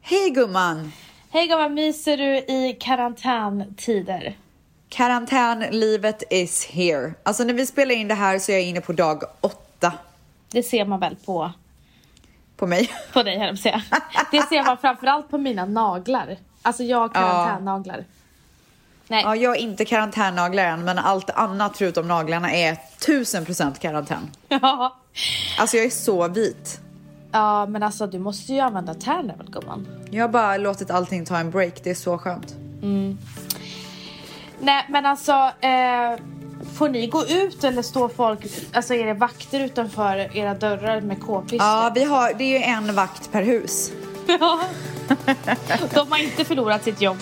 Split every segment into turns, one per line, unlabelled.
Hej gumman!
Hej gumman, myser du i karantäntider?
Karantänlivet is here. Alltså när vi spelar in det här så är jag inne på dag åtta
Det ser man väl på,
på mig.
på dig, höll jag på att säga. Det ser man framförallt på mina naglar. Alltså jag har karantännaglar. Nej,
Ja, jag är inte karantännaglar än, men allt annat förutom naglarna är 1000% karantän.
ja.
Alltså jag är så vit.
ja men alltså du måste ju använda tärnen väl gumman?
Jag har bara låtit allting ta en break, det är så skönt.
Nej men alltså, eh, får ni gå ut eller står folk, alltså är det vakter utanför era dörrar med k-pistar?
Ja, vi har, det är ju en vakt per hus.
Ja. De har inte förlorat sitt jobb.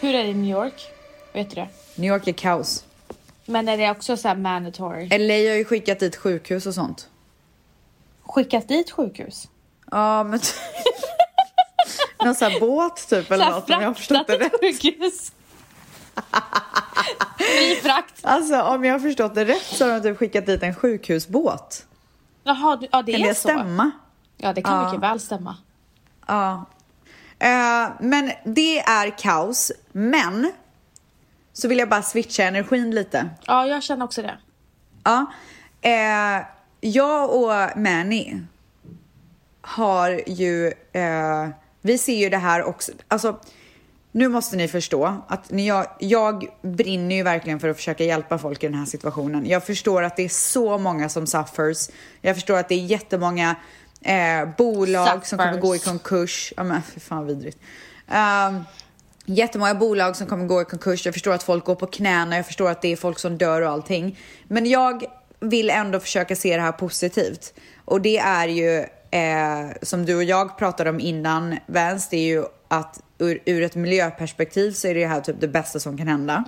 Hur är det i New York? Vet du det?
New York är kaos.
Men är det också så här mandatory?
LA har ju skickat dit sjukhus och sånt.
Skickat dit sjukhus?
Ja, men... Någon sån här båt typ eller
Så här
något om jag har förstått
fraktat
det
till
rätt.
sjukhus? Fri frakt.
Alltså om jag har förstått det rätt så har de typ skickat dit en sjukhusbåt.
Jaha, du- ja det
Kan
är
det
så?
stämma?
Ja, det kan
Ja.
mycket väl stämma.
Ja. Eh, men det är kaos. Men så vill jag bara switcha energin lite.
Ja, jag känner också det.
Ja. Eh, jag och Manny har ju... Eh, vi ser ju det här också. Alltså, nu måste ni förstå att när jag, jag brinner ju verkligen för att försöka hjälpa folk i den här situationen. Jag förstår att det är så många som suffers. Jag förstår att det är jättemånga eh, bolag som kommer gå i
Suffers.
konkurs. Ja, men för fan vidrigt. Ehm, jättemånga bolag som kommer gå i konkurs. Jag förstår att folk går på knäna. Jag förstår att det är folk som dör och allting. Men jag vill ändå försöka se det här positivt. Och det är ju, eh, som du och jag pratade om innan, Vans, det är ju att ur, ur ett miljöperspektiv så är det här typ det bästa som kan hända.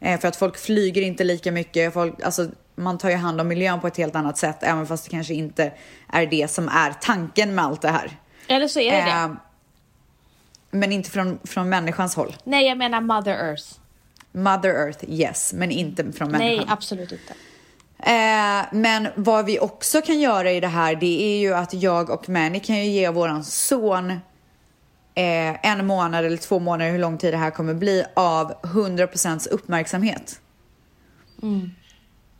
Eh, för att folk flyger inte lika mycket. Folk, alltså, man tar ju hand om miljön på ett helt annat sätt, även fast det kanske inte är det som är tanken med allt det här.
Eller så är det det.
Eh, men inte från, från människans håll.
Nej, jag menar Mother Earth.
Mother Earth, yes, men inte från människan.
Nej, absolut inte.
Eh, men vad vi också kan göra i det här, det är ju att jag och Manny kan ju ge våran son eh, en månad eller två månader, hur lång tid det här kommer bli, av 100% uppmärksamhet.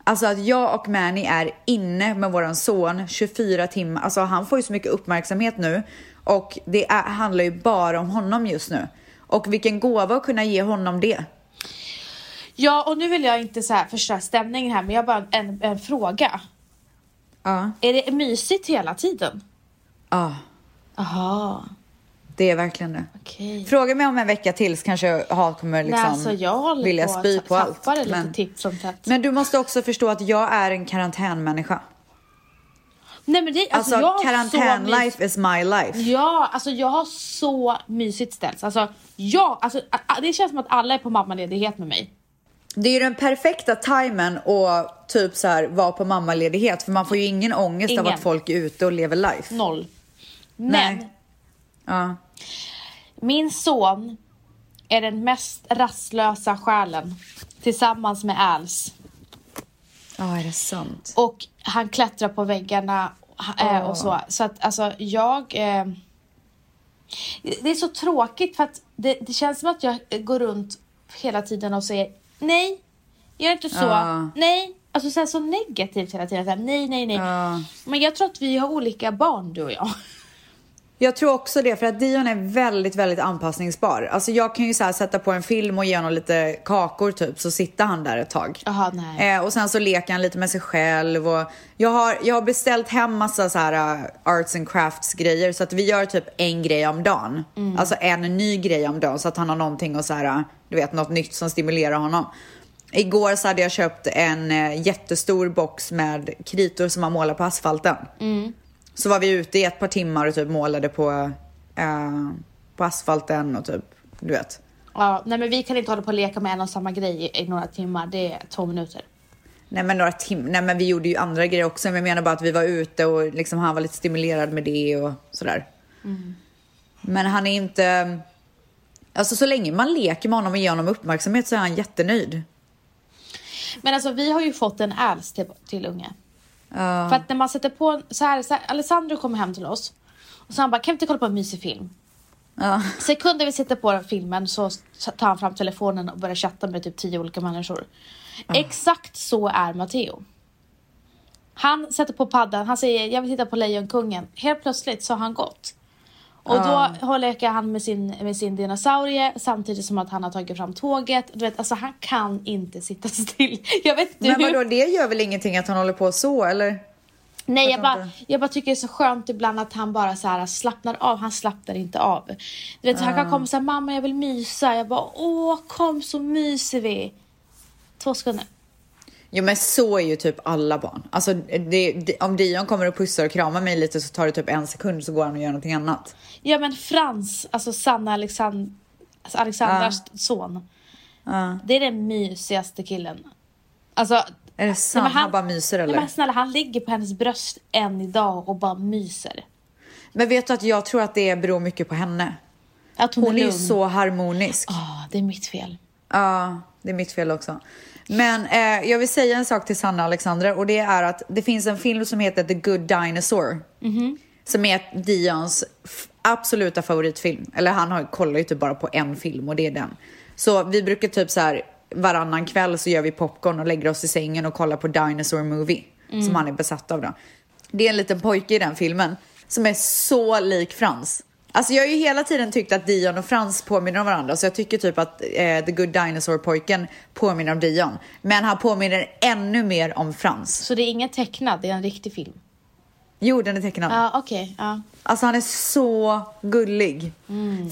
Alltså att jag och Manny är inne med våran son 24 timmar, alltså han får ju så mycket uppmärksamhet nu och det är, handlar ju bara om honom just nu. Och vilken gåva att kunna ge honom det.
Ja, och nu vill jag inte så här förstöra stämningen här, men jag har bara en, en fråga.
Ja.
Är det mysigt hela tiden?
Ja,
Aha,
det är verkligen det.
okej.
Fråga mig om en vecka till så kanske jag har- kommer liksom
Nej, alltså jag håller
vilja
på
spy
att
på
ta-
allt.
tappa det lite
Men,
titt som tätt.
men du måste också förstå att jag är en karantänmänniska.
Nej, men det, alltså,
Alltså,
jag har så mysigt.
karantänlife is my life.
Ja, alltså jag har så mysigt ställt. Alltså, ja, alltså, a- a- det känns som att alla är på mammaledighet med mig.
Det är ju den perfekta timern att typ så här vara på mammaledighet för man får ju ingen ångest av
Ingen.
att folk är ute och lever life.
Noll. Men
Nej. Ja.
Min son är den mest rastlösa själen tillsammans med Als.
Ja, är det sant?
Och han klättrar på väggarna eh, och så. Så att alltså jag... Eh, det är så tråkigt för att det, det känns som att jag går runt hela tiden och säger nej, gör inte så,
Ja.
nej. Alltså så, här, så negativt hela tiden. Så här, nej, nej, nej.
Ja.
Men jag tror att vi har olika barn du och jag.
Jag tror också det, för att Dion är väldigt, väldigt anpassningsbar. Alltså jag kan ju så här sätta på en film och ge honom lite kakor typ, så sitter han där ett tag.
Jaha, nej.
Eh, och sen så leker han lite med sig själv och jag har, jag har beställt hem massa så här eh, arts and crafts grejer så att vi gör typ en grej om dagen. Alltså en ny grej om dagen så att han har någonting och så här, eh, du vet något nytt som stimulerar honom. Igår så hade jag köpt en eh, jättestor box med kritor som man målar på asfalten. Så var vi ute i ett par timmar och typ målade på, eh, på asfalten och typ, du vet.
Ja, nej men vi kan inte hålla på och leka med en och samma grej i, i några timmar. Det är två minuter.
Nej men några timmar, nej men vi gjorde ju andra grejer också. Men jag menar bara att vi var ute och liksom han var lite stimulerad med det och sådär. Men han är inte... Alltså så länge man leker med honom och ger honom uppmärksamhet så är han jättenöjd.
Men alltså vi har ju fått en äls till, till unge. För att när man sätter på en, så här, så här, Alessandro kommer hem till oss och så han bara, kan vi inte kolla på en mysig film?
Ja.
Sekunden vi sätter på den filmen så tar han fram telefonen och börjar chatta med typ tio olika människor. Exakt så är Matteo. Han sätter på paddan, han säger jag vill titta på Lejonkungen. Helt plötsligt så har han gått. Och då har- leker han med sin, med sin dinosaurie samtidigt som att han har tagit fram tåget. Du vet, alltså han kan inte sitta still. Jag vet inte
Men
hur...
vadå, det gör väl ingenting att han håller på så eller?
Nej, jag
Fattar
bara,
inte.
jag bara tycker det är så skönt ibland att han bara så här slappnar av. Han slappnar inte av. Du vet, så Han
Ah.
kan komma och säga mamma jag vill mysa. Jag bara åh kom så myser vi. Två sekunder.
Jo men så är ju typ alla barn. Alltså det, det, om Dion kommer och pussar och kramar mig lite så tar det typ en sekund så går han och gör någonting annat.
Ja men Frans, alltså Sanna Alexand- alltså Alexandras
Ah.
son. Det är den mysigaste killen. Alltså,
Är det sant?
men
han, bara myser eller?
Nej,
men...
men snälla, han ligger på hennes bröst än idag och bara myser.
vet du att jag tror att det beror mycket på henne.
Att hon,
Hon är ju
lugn.
så harmonisk.
Ah, det är mitt fel.
Ja, det är mitt fel också. Men eh, jag vill säga en sak till Sanna och Alexander och det är att det finns en film som heter The Good Dinosaur. Som är Dions f- absoluta favoritfilm. Eller han har, kollar ju typ bara på en film och det är den. Så vi brukar typ så här varannan kväll så gör vi popcorn och lägger oss i sängen och kollar på Dinosaur Movie. Som han är besatt av då. Det är en liten pojke i den filmen som är så lik Frans. Alltså jag har ju hela tiden tyckt att Dion och Frans påminner om varandra så jag tycker typ att eh, The Good Dinosaur-pojken påminner om Dion. Men han påminner ännu mer om Frans.
Så det är ingen tecknad, det är en riktig film.
Jo, den är tecknad.
Ja, okej. ja.
Alltså han är så gullig.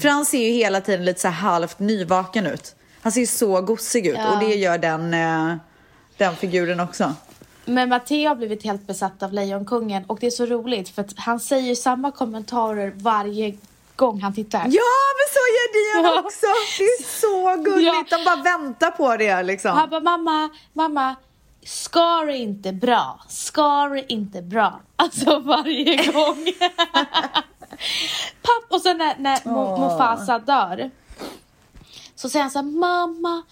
Frans ser ju hela tiden lite så här halvt nyvaken ut. Han ser ju så gosig ut
Ja.
och det gör den, eh, den figuren också.
Men Matteo har blivit helt besatt av Lejonkungen och det är så roligt för att han säger ju samma kommentarer varje gång han tittar.
Ja, men så gör Dion
Ja.
också! Det är så gulligt.
Ja.
De bara väntar på det liksom.
Han bara mamma, mamma, Scar är inte bra, Scar är inte bra. Alltså varje gång. Papp, och sen när, när Mo-
Åh.
Mufasa dör så säger han så här, mamma,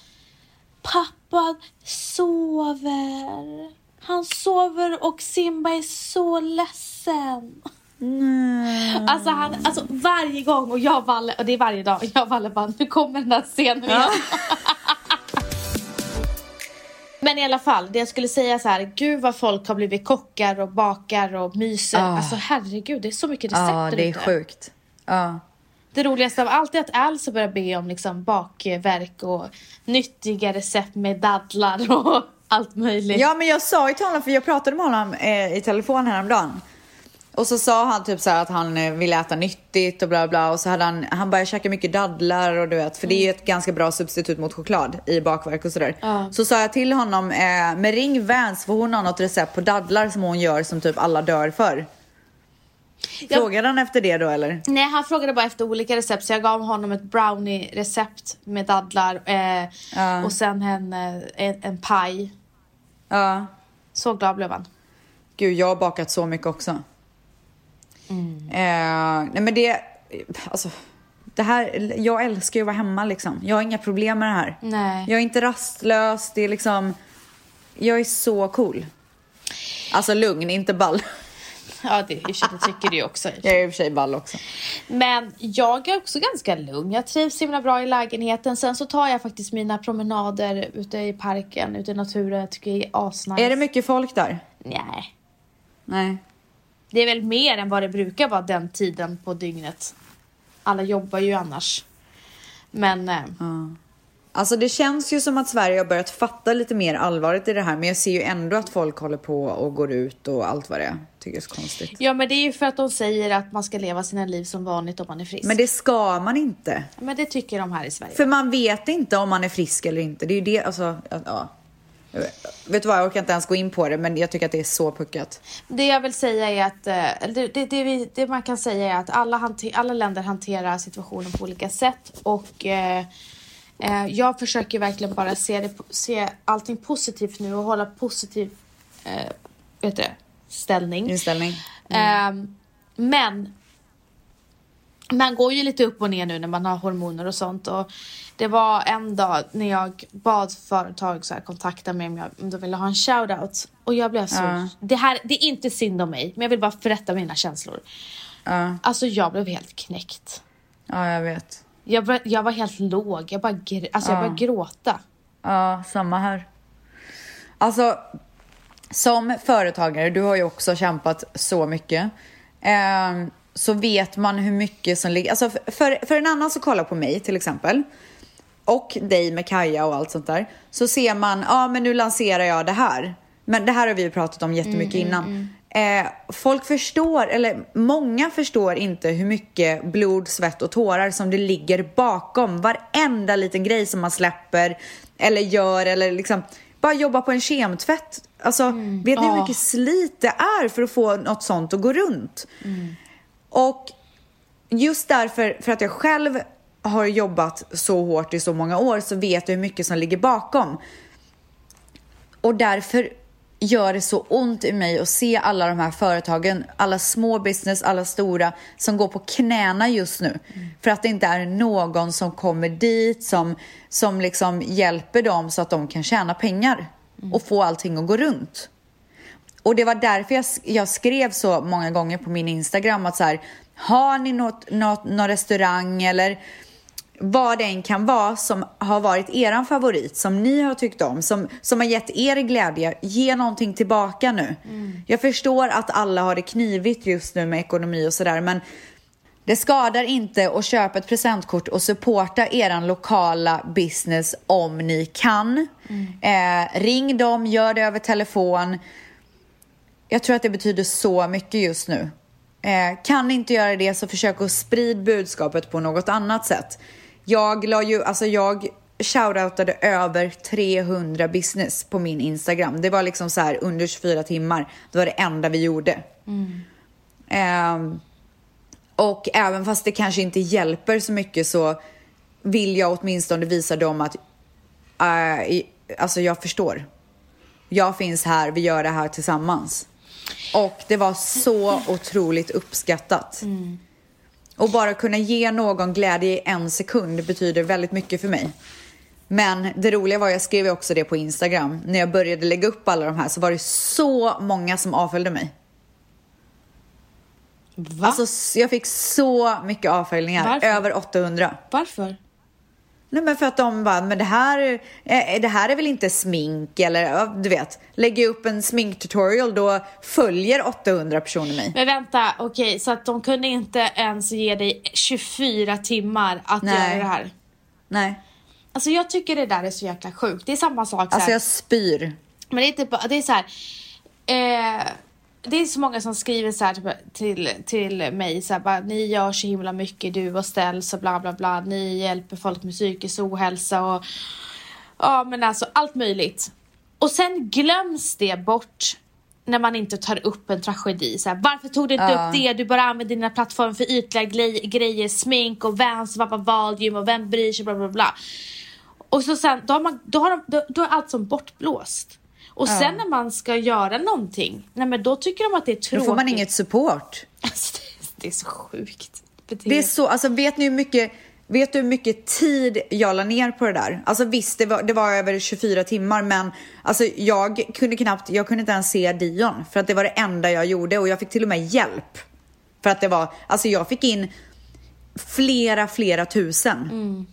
pappa sover. Han sover och Simba är så ledsen.
Mm.
Alltså, han, alltså varje gång och jag och Valle, och det är varje dag, jag och Valle bara nu kommer den där scenen igen. Men i alla fall, det jag skulle säga så här, gud vad folk har blivit kockar och bakar och myser.
Ah.
Alltså herregud, det är så mycket recept
Ja,
där
det är
ute.
sjukt. Ja.
Det roligaste av allt är att Alice börjar be om liksom bakverk och nyttiga recept med dadlar och allt möjligt.
Ja, men jag sa ju till honom, för jag pratade med honom eh, i telefon häromdagen. Och så sa han typ så här att han eh, ville äta nyttigt och bla bla och så hade han, han bara jag käkar mycket dadlar och du vet för det är ju ett ganska bra substitut mot choklad i bakverk och sådär.
Ja.
Så sa jag till honom, eh, men ring Vans för hon har något recept på dadlar som hon gör som typ alla dör för.
Jag-
Frågade han efter det då eller?
Nej, han frågade bara efter olika recept så jag gav honom ett brownie-recept med dadlar eh,
Ja.
och sen en, eh, en, en paj.
Ja.
Så glad blev han.
Gud, jag har bakat så mycket också. Eh, nej men det, alltså, det här, jag älskar ju att vara hemma liksom. Jag har inga problem med det här.
Nej.
Jag är inte rastlös, det är liksom, jag är så cool. Alltså lugn, inte ball.
Ja, det, i och för sig, det tycker du ju också.
Jag är i och för sig ball också.
Men jag är också ganska lugn. Jag trivs himla bra i lägenheten. Sen så tar jag faktiskt mina promenader ute i parken, ute i naturen. Jag tycker det är asnice.
Är det mycket folk där?
Nej.
Nej.
Det är väl mer än vad det brukar vara den tiden på dygnet. Alla jobbar ju annars. Men... Eh,
Alltså det känns ju som att Sverige har börjat fatta lite mer allvaret i det här men jag ser ju ändå att folk håller på och går ut och allt vad det är. Tycker det är så konstigt.
Ja men det är ju för att de säger att man ska leva sina liv som vanligt om man är frisk.
Men
Men det,
det ska man inte.
tycker de här i Sverige.
För man vet inte om man är frisk eller inte. Det är ju det, alltså, ja, ja. Jag vet- Vet du vad, jag orkar inte ens gå in på det, men jag tycker att det är så puckat.
Det jag vill säga är att eh, eller det, det, det, vi, det man kan säga är att alla, hante, alla länder hanterar situationen på olika sätt och eh, eh, jag försöker verkligen bara se, det, se allting positivt nu och hålla positiv eh, vet du, ställning.
Mm. Inställning.
Ehm, men Ehm, man går ju lite upp och ner nu när man har hormoner och sånt. Och det var en dag när jag bad företag så här, kontakta mig om, jag, om de ville ha en shoutout. Och jag blev så...
Ja.
Det, här, det är inte synd om mig, men jag vill bara berätta mina känslor.
Ja,
Alltså, jag blev helt knäckt.
ja jag vet.
Jag, bör- jag var helt låg. Jag bara, gr- alltså, jag började gråta.
Ja, samma här. Alltså, som företagare, du har ju också kämpat så mycket. ehm, så vet man hur mycket som ligger... Alltså för- för, för en annan som kollar på mig till exempel och dig med Kaja och allt sånt där så ser man, ja ah, men nu lanserar jag det här. Men det här har vi ju pratat om jättemycket innan. Eh, folk förstår, eller många förstår inte hur mycket blod, svett och tårar som det ligger bakom varenda liten grej som man släpper eller gör eller liksom bara jobba på en kemtvätt. Alltså, vet ni hur
Ja.
mycket slit det är för att få något sånt att gå runt? Och just därför, för att jag själv har jobbat så hårt i så många år så vet jag hur mycket som ligger bakom. Och därför gör det så ont i mig att se alla de här företagen, alla små business, alla stora, som går på knäna just nu. För att det inte är någon som kommer dit, som, som liksom hjälper dem så att de kan tjäna pengar och få allting att gå runt. Och det var därför jag, jag skrev så många gånger på min Instagram att så här, har ni något, något, någon restaurang eller vad det än kan vara som har varit eran favorit, som ni har tyckt om, som, som har gett er glädje, ge någonting tillbaka nu. Jag förstår att alla har det knivigt just nu med ekonomi och sådär, men det skadar inte att köpa ett presentkort och supporta eran lokala business om ni kan. Eh, ring dem, gör det över telefon. Jag tror att det betyder så mycket just nu. Eh, kan ni inte göra det så försök att sprida budskapet på något annat sätt. Jag la ju, alltså jag shoutoutade över 300 business på min Instagram. Det var liksom så här under 24 timmar. Det var det enda vi gjorde. Ehm, och även fast det kanske inte hjälper så mycket så vill jag åtminstone visa dem att eh, i- alltså jag förstår. Jag finns här, vi gör det här tillsammans. Och det var så otroligt uppskattat. Och bara kunna ge någon glädje i en sekund betyder väldigt mycket för mig. Men det roliga var, jag skrev ju också det på Instagram, när jag började lägga upp alla de här så var det så många som avföljde mig.
Va?
Alltså s- jag fick så mycket avföljningar,
Varför?
över 800.
Varför?
Nej men för att de bara, men det här, eh, det här är väl inte smink eller ja, du vet. Lägger jag upp en sminktutorial då följer 800 personer mig.
Men vänta, okej, så att de kunde inte ens ge dig 24 timmar att
Nej.
göra det här?
Nej,
Alltså jag tycker det där är så jäkla sjukt. Det är samma sak så
alltså
här.
jag spyr.
Men det är inte bara, det är så här. Eh, det är så många som skriver så här typ, till, till mig så här, bara, ni gör så himla mycket du och ställs och bla bla bla. Ni hjälper folk med psykisk ohälsa och ja men alltså allt möjligt. Och sen glöms det bort när man inte tar upp en tragedi. Så här, varför tog du inte
Ja.
upp det? Du bara använder dina plattformar för ytliga gle- grejer, smink och Vans, pappa Valium och vem bryr sig bla bla bla. Och så sen, då, har man, då, har de, då, då är allt som bortblåst. Och sen när man ska göra någonting, nej men då tycker de att det är
Då
tråkigt.
får man inget support.
Alltså, det, det är så sjukt.
Det är så, alltså vet ni hur mycket, vet du hur mycket tid jag la ner på det där? Alltså visst, det var, det var över 24 timmar men alltså jag kunde knappt, jag kunde inte ens se Dion för att det var det enda jag gjorde och jag fick till och med hjälp. För att det var, alltså jag fick in flera, flera tusen.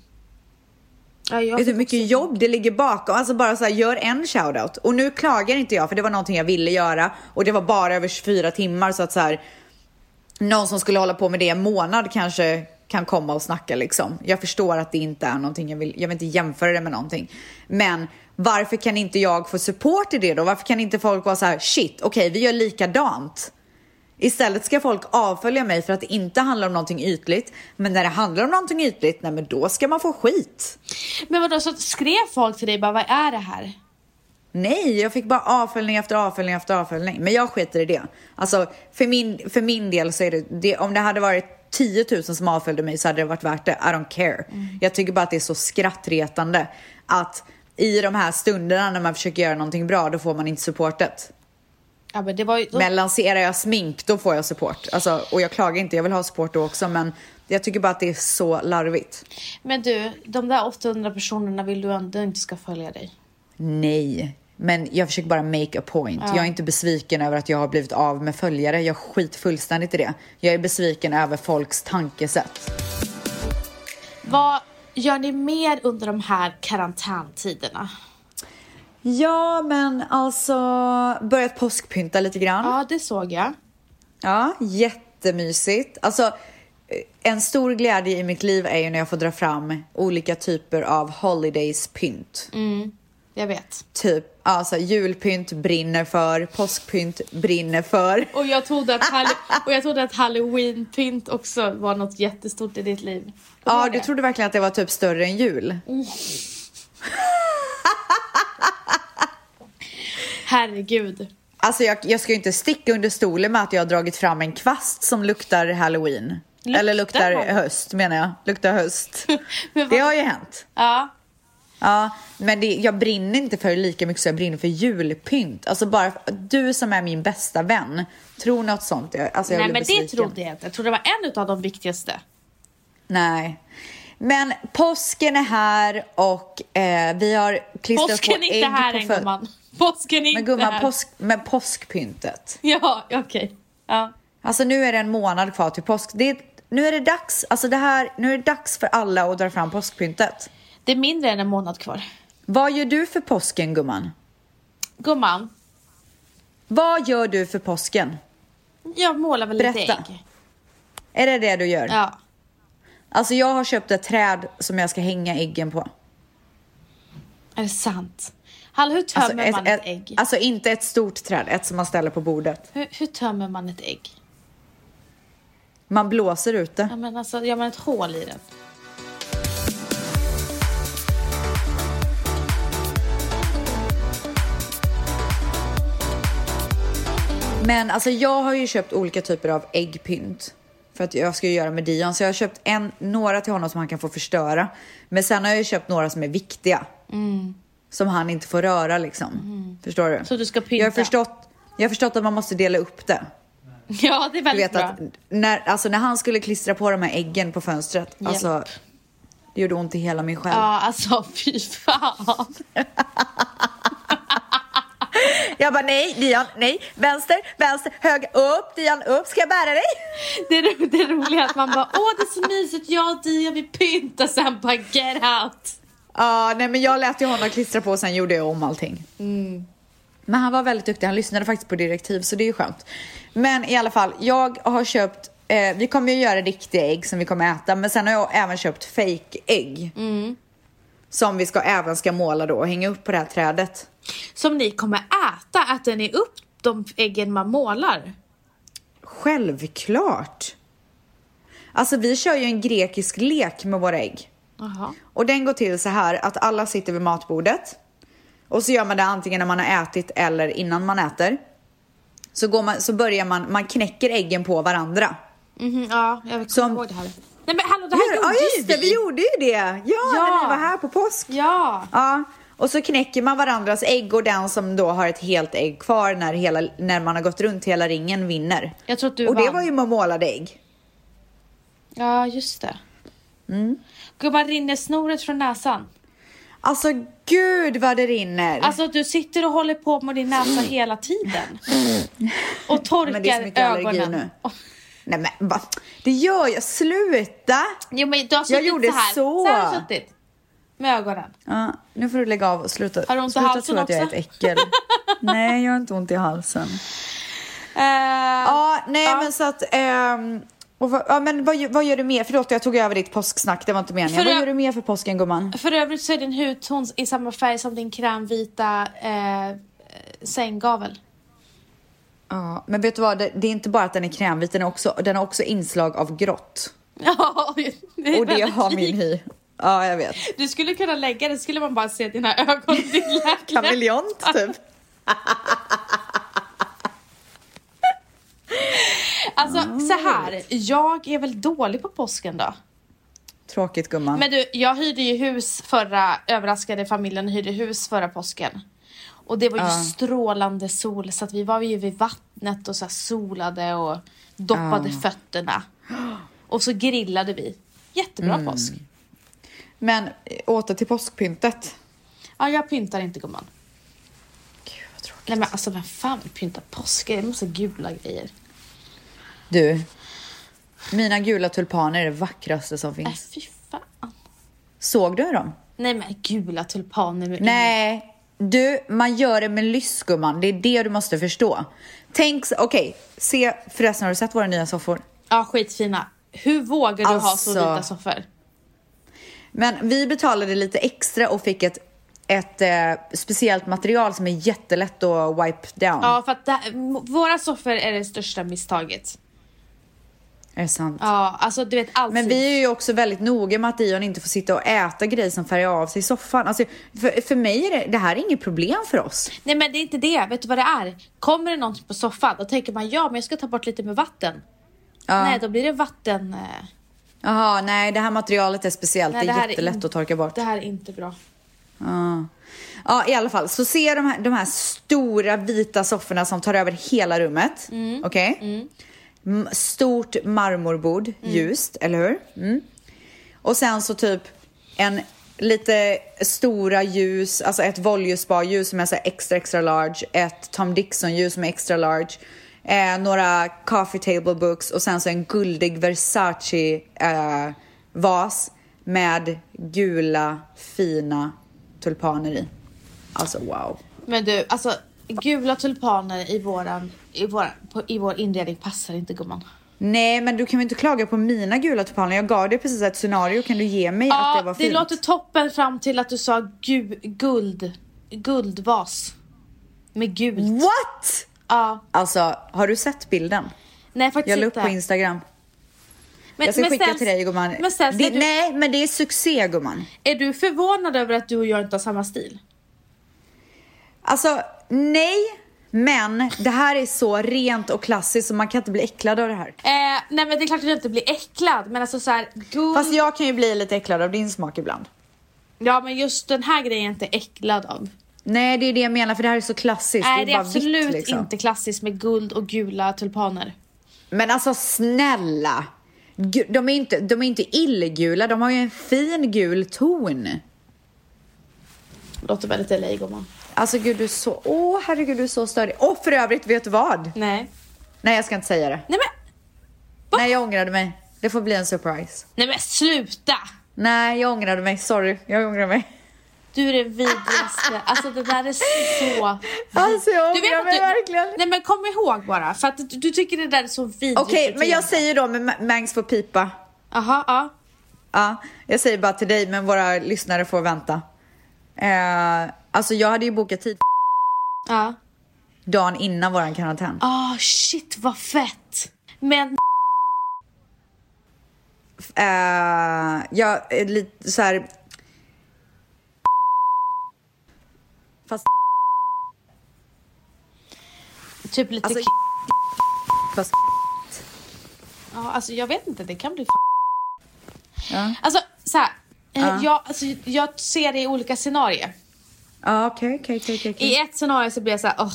Ja,
Vet
jag
du
fick
hur mycket jobb det ligger bakom? Alltså bara så här, gör en shoutout. Och nu klagar inte jag för det var någonting jag ville göra och det var bara över 24 timmar så att så här, någon som skulle hålla på med det en månad kanske kan komma och snacka liksom. Jag förstår att det inte är någonting, jag vill, jag vill inte jämföra det med någonting. Men varför kan inte jag få support i det då? Varför kan inte folk vara så här, shit, okej vi gör likadant. Istället ska folk avfölja mig för att det inte handlar om någonting ytligt. Men när det handlar om någonting ytligt, nej men då ska man få skit.
Men vadå, så skrev folk till dig bara vad är det här?
Nej, jag fick bara avföljning efter avföljning efter avföljning. Men jag skiter i det. Alltså, för min, för min del så är det, det, om det hade varit 10 000 som avföljde mig så hade det varit värt det. I don't care. Jag tycker bara att det är så skrattretande att i de här stunderna när man försöker göra någonting bra, då får man inte supportet.
Ja, men det var ju, då,
Men lanserar jag smink, då får jag support. Alltså, och jag klagar inte, jag vill ha support då också, men Jag tycker bara att det är så larvigt.
Men du, de där 800 personerna vill du ändå inte ska följa dig.
Nej, men jag försöker bara make a point. Jag är inte besviken över att jag har blivit av med följare. Jag skit fullständigt i det. Jag är besviken över folks tankesätt.
Vad gör ni mer under de här karantäntiderna?
Ja, men alltså börjat påskpynta lite grann.
Ja, det såg jag.
Ja, jättemysigt. Alltså, eh, en stor glädje i mitt liv är ju när jag får dra fram olika typer av holidays-pynt.
Jag vet.
Typ, alltså julpynt brinner för, påskpynt brinner för.
Och jag trodde att, hall- och jag trodde att halloweenpynt också var något jättestort i ditt liv. Kommer
Ja,
du
du
ihåg
trodde verkligen att det var typ större än jul.
det? Herregud.
Alltså jag, jag ska ju inte sticka under stolen med att jag har dragit fram en kvast som luktar halloween.
Luktar
Eller luktar
halloween?
höst menar jag. Luktar höst.
Men
det
vad-
har ju hänt.
Ja.
Ja, men det, jag brinner inte för det lika mycket som jag brinner för julpynt. Alltså bara för- du som är min bästa vän, tror något sånt. Jag, alltså jag
Nej,
blir
men det
besviken.
trodde jag inte. Jag trodde det var en av de viktigaste.
Nej. Men påsken är här och eh, vi har klistrat
Påsken
på
är
ägg
inte här
på
än,
fö-
gumman. Påsken är
Men
inte
gumman,
här.
påsk, men påskpyntet.
Ja, okej. Ja.
Alltså nu är det en månad kvar till påsk. Det är, nu är det dags, alltså det här, nu är det dags för alla att dra fram påskpyntet.
Det är mindre än en månad kvar.
Vad gör du för påsken gumman?
Gumman,
Vad gör du för påsken?
jag målar väl lite
Berätta.
ägg.
Är det det du gör?
Ja.
Alltså jag har köpt ett träd som jag ska hänga äggen på.
Är det sant? Hallå, hur tömmer
Alltså, ett,
man ett,
ett,
ägg?
alltså inte ett stort träd, ett som man ställer på bordet.
Hur, hur tömmer man ett ägg?
Man blåser ut det.
Ja, men alltså, gör man ett hål i den?
Men alltså jag har ju köpt olika typer av äggpynt. För att jag ska ju göra med Dion. Så jag har köpt en, några till honom som han kan få förstöra. Men sen har jag ju köpt några som är viktiga. Som han inte får röra liksom. Förstår du?
Mm. Så du ska pynta?
jag, har förstått, jag har förstått att man måste dela upp det.
Ja, det
Du
är väldigt
vet
bra.
att när, alltså när han skulle klistra på de här äggen på fönstret.
Japp.
Alltså, det gjorde ont i hela min själ.
Ja, alltså fy fan.
Jag bara nej, Dion, nej, vänster, vänster, höger, upp, Dion, upp, ska jag bära dig?
Det, är, det är roliga är att man bara, åh det är så mysigt, jag och Dia vi pyntar sen bara get out.
Ja, nej men jag lät ju honom klistra på och sen gjorde jag om allting. Men han var väldigt duktig, han lyssnade faktiskt på direktiv så det är ju skönt. Men i alla fall, jag har köpt, eh, vi kommer ju göra riktiga ägg som vi kommer äta men sen har jag även köpt fake ägg Som vi ska, även ska måla då och hänga upp på det här trädet.
Som ni kommer äta, äter ni upp de äggen man målar?
Självklart! Alltså vi kör ju en grekisk lek med våra ägg.
Jaha.
Och den går till så här att alla sitter vid matbordet. Och så gör man det antingen när man har ätit eller innan man äter. Så, går man, så börjar man, man knäcker äggen på varandra.
Mhm, ja, jag kommer
Som-
ihåg det här. Nej men hallå, det här
Hur?
gjorde
Ja just
ju
det, vi gjorde ju det! Ja, när ni var här på påsk.
Ja.
Ja, och så knäcker man varandras ägg och den som då har ett helt ägg kvar när, hela, när man har gått runt hela ringen vinner.
Jag tror att du
och det
vann.
var ju med målade ägg.
Ja, just det. Mm. Gumman, rinner snoret från näsan?
Alltså gud vad det rinner!
Alltså du sitter och håller på med din näsa hela tiden. Och torkar
Men det är så mycket allergi
ögonen.
nu. Nej men va? Det gör jag, sluta!
Jo, men du har suttit
gjorde
så här.
så.
här har du suttit. Med ögonen.
Ja, nu får du lägga av och sluta,
Har du ont i
sluta
halsen
tro att jag är ett
också?
äckel. nej, jag har inte ont i halsen.
Eh,
Ja, nej
Ja.
men så att... ehm, och vad, ja, men vad, gör- vad gör du mer? Förlåt, jag tog över ditt påsksnack. Det var inte meningen.
För
vad
jag-
gör du mer för påsken, gumman?
För övrigt så är din hudton i samma färg som din krämvita eh, sänggavel.
Ja, men vet du vad? Det, det är inte bara att den är krämvit, den, är också, den har också inslag av grått.
Ja, det är
Och det
väldigt
har
likt.
min hy. Ja, jag vet.
Du skulle kunna lägga det, skulle man bara se dina ögon i din läkare.
Kameleont, typ.
Alltså så här, jag är väl dålig på påsken då?
Tråkigt, gumman.
Men du, jag hyrde ju hus förra, överraskade familjen hyrde hus förra påsken. Och det var ju strålande sol så att vi var ju vid vattnet och så här solade och doppade fötterna. Och så grillade vi. Jättebra
Mm.
påsk.
Men eh, åter till påskpyntet.
Ja, jag pyntar inte gumman.
Gud, vad tråkigt.
Nej men alltså vem fan vill pynta påskgrejer? Det är massa gula grejer.
Du, mina gula tulpaner är det vackraste som
Nej
finns.
fy fan.
Såg du dem?
Nej men gula tulpaner med
Nej, du, man gör det med lyss gumman. Det är det du måste förstå. Tänk, s- okej, se, förresten har du sett våra nya soffor?
Ja skitfina. Hur vågar du ha så
Alltså.
vita soffor?
Men vi betalade lite extra och fick ett, ett eh, speciellt material som är jättelätt att wipe down.
Ja för att det här, m- våra soffor är det största misstaget.
Är det sant?
Ja alltså du vet alltid.
Men vi är ju också väldigt noga med att Dion inte får sitta och äta grejer som färgar av sig i soffan. Alltså, för, för mig är det, det här är inget problem för oss.
Nej men det är inte det. Vet du vad det är? Kommer det någonting på soffan då tänker man ja men jag ska ta bort lite med vatten.
Ja.
Nej då blir det vatten. eh,
Jaha, nej det här materialet är speciellt.
Nej,
det,
här
är jättelätt
in-
att torka bort.
Det här är inte bra.
Ja. ja, i alla fall. Så se de här, de här stora vita sofforna som tar över hela rummet. Okej? M- Stort marmorbord, ljust, eller hur? Mm. Och sen så typ en lite stora ljus, alltså ett Voljus-spa-ljus som är så här extra extra large, ett Tom Dixon-ljus som är extra large, eh, några coffee table books och sen så en guldig Versace-vas med gula fina tulpaner i. Alltså wow.
Men du, alltså gula tulpaner i våran, i våran, på, i vår inredning passar inte gumman.
Nej men du kan väl inte klaga på mina gula tulpaner? Jag gav dig precis ett scenario, kan du ge mig att
Ja,
det var
det,
fint?
låter toppen fram till att du sa gu, guld, guldvas. Med gult.
Mm. What?
Ja,
Alltså, har du sett bilden?
nej faktiskt
Jag la upp
inte.
på Instagram.
men,
jag ska
men
skicka
ställs-
till dig gumman.
Men ställs,
det,
är, du,
Nej men det är succé gumman.
är du förvånad över att du och jag inte har samma stil?
Alltså nej, men det här är så rent och klassiskt så man kan inte bli äcklad av det här.
Eh, nej men det är klart att jag inte blir äcklad men alltså så här, guld...
Fast jag kan ju bli lite äcklad av din smak ibland.
Ja men just den här grejen är jag inte äcklad av.
Nej det är det jag menar för det här är så klassiskt.
Nej det är
bara vitt,
absolut
liksom.
inte klassiskt med guld och gula tulpaner.
Men alltså snälla. Gu- De är, inte, de är inte illgula, de har ju en fin gul ton.
Låter väldigt LA gumman.
Alltså gud du är så, åh herregud du är så störig. Och för övrigt, vet du vad?
Nej.
Nej jag ska inte säga det.
Nej men,
Nej jag ångrade mig. Det får bli en surprise.
nej men sluta!
Nej, jag ångrade mig. Sorry, jag ångrar mig.
Du är det vidrigaste. Alltså det där är så...
Alltså jag
Du vet
ångrar
att
mig
du...
verkligen.
Nej men kom ihåg bara, för att du, du tycker det där är så vidrigt.
Okej, men jag
beteende.
säger då med Ma- Mangs får pipa.
Jaha, ja.
Ja, jag säger bara till dig, men våra lyssnare får vänta. Eh, alltså jag hade ju bokat tid
Ja.
dagen innan våran karantän.
Ah shit vad fett! Men
Eh, jag är lite så här. Fast,
typ lite...
alltså, fast,
Alltså, ja, alltså jag vet inte, det kan bli f-
ja,
Alltså så här. eh,
Ja.
Jag, alltså, jag ser det i olika scenarier.
Ja, okej, okej, okej, okej, okej.
I ett scenario så blir jag så här, "Åh."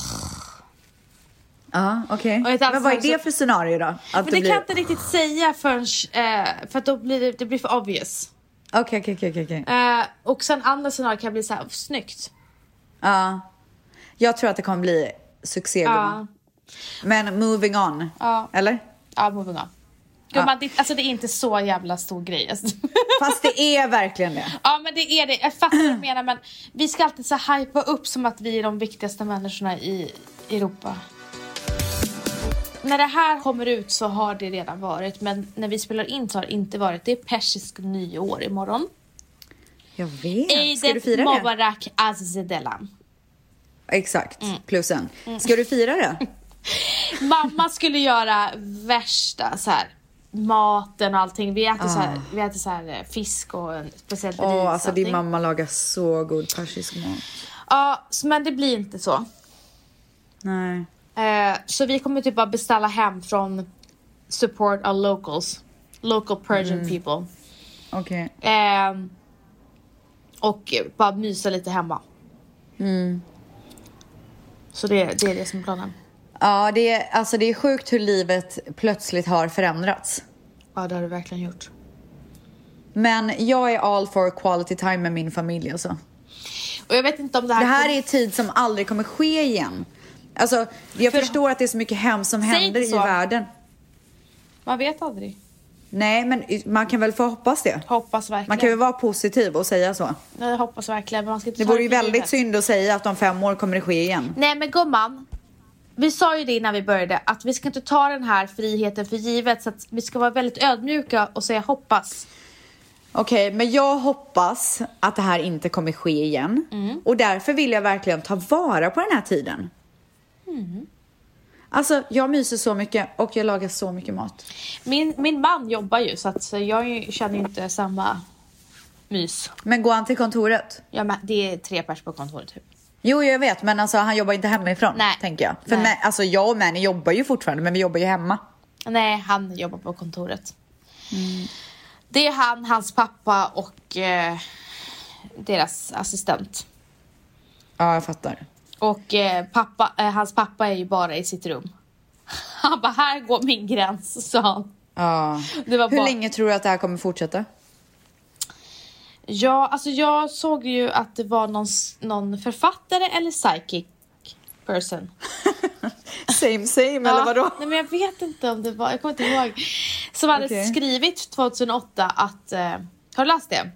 Ja, okej.
Och ett annat
Men vad är
scenario
det för scenario då? Att
Men det kan jag inte riktigt säga förrän, eh, för att då blir det, det blir för obvious.
Okej, okej, okej, okej, okej.
Eh, och sen andra scenarier kan bli så här, snyggt.
Ja. Jag tror att det kommer bli succé,
Ja,
gumman. Men moving on.
Ja.
Eller?
ja moving on. Gumman, det, alltså det är inte så jävla stor grej. Alltså.
Fast det är verkligen det.
ja men det är det, jag fattar vad du menar men vi ska alltid så här hypa upp som att vi är de viktigaste människorna i Europa. När det här kommer ut så har det redan varit men när vi spelar in så har det inte varit. Det är persisk nyår imorgon.
Jag vet. Ska du
Eidet
fira det?
Mubarak Azizedelan.
Exakt.
Mm.
Plus en. Ska du fira det?
Mamma skulle göra värsta så här maten och allting. Vi äter, så här, vi äter så här eh, fisk och en speciell ris.
Ah. Åh,
och
alltså din
allting.
mamma lagar så god persisk mat.
Ja, så- men det blir inte så.
Nej.
Eh, så vi kommer typ bara beställa hem från support our locals. Local Persian
Mm.
people.
Okej.
Ehm, och eh, bara mysa lite hemma.
Mm.
Så det, det är det som är planen.
Ja, det är, alltså det är sjukt hur livet plötsligt har förändrats.
Ja, det har du verkligen gjort.
Men jag är all for quality time med min familj alltså.
Och jag vet inte om det här...
Det här är tid som aldrig kommer ske igen. Alltså, jag
För-
förstår att det är så mycket hemskt som
Säg
händer i
inte så.
världen.
Man vet aldrig.
Nej, men man kan väl få hoppas det.
Hoppas verkligen.
Man kan väl vara positiv och säga så.
Nej, Jag hoppas verkligen. Men man ska inte
Det
ta
vore ju
för
väldigt
givet.
synd att säga att om fem år kommer det ske igen.
Nej men gumman. Vi sa ju det innan vi började att vi ska inte ta den här friheten för givet så att vi ska vara väldigt ödmjuka och säga hoppas.
Okej, men jag hoppas att det här inte kommer ske igen.
Mm.
Och därför vill jag verkligen ta vara på den här tiden.
Mm.
Alltså, jag myser så mycket och jag lagar så mycket mat.
Min, min man jobbar ju så att så jag ju- känner ju inte samma mys.
Men går han till kontoret?
Ja, men det är tre pers på kontoret typ.
Jo, jag vet, men alltså, han jobbar inte hemifrån,
Nej.
tänker jag. För
Nej.
Nej. Alltså, jag och Mani jobbar ju fortfarande, men vi jobbar ju hemma.
Nej, han jobbar på kontoret. Mm. Det är han, hans pappa och eh, deras assistent.
Ja, jag fattar.
Och eh, pappa, eh, hans pappa är ju bara i sitt rum. Han bara, här går min gräns, sa han.
Ja.
Det var
Hur
bara-
länge tror du att det här kommer fortsätta?
Ja, alltså jag såg ju att det var någon, s- någon författare eller psychic person.
Same same, eller vadå?
Nej, men jag vet inte om det var, jag kommer inte ihåg. Som hade
Okej.
skrivit 2008 att, eh, har du läst det?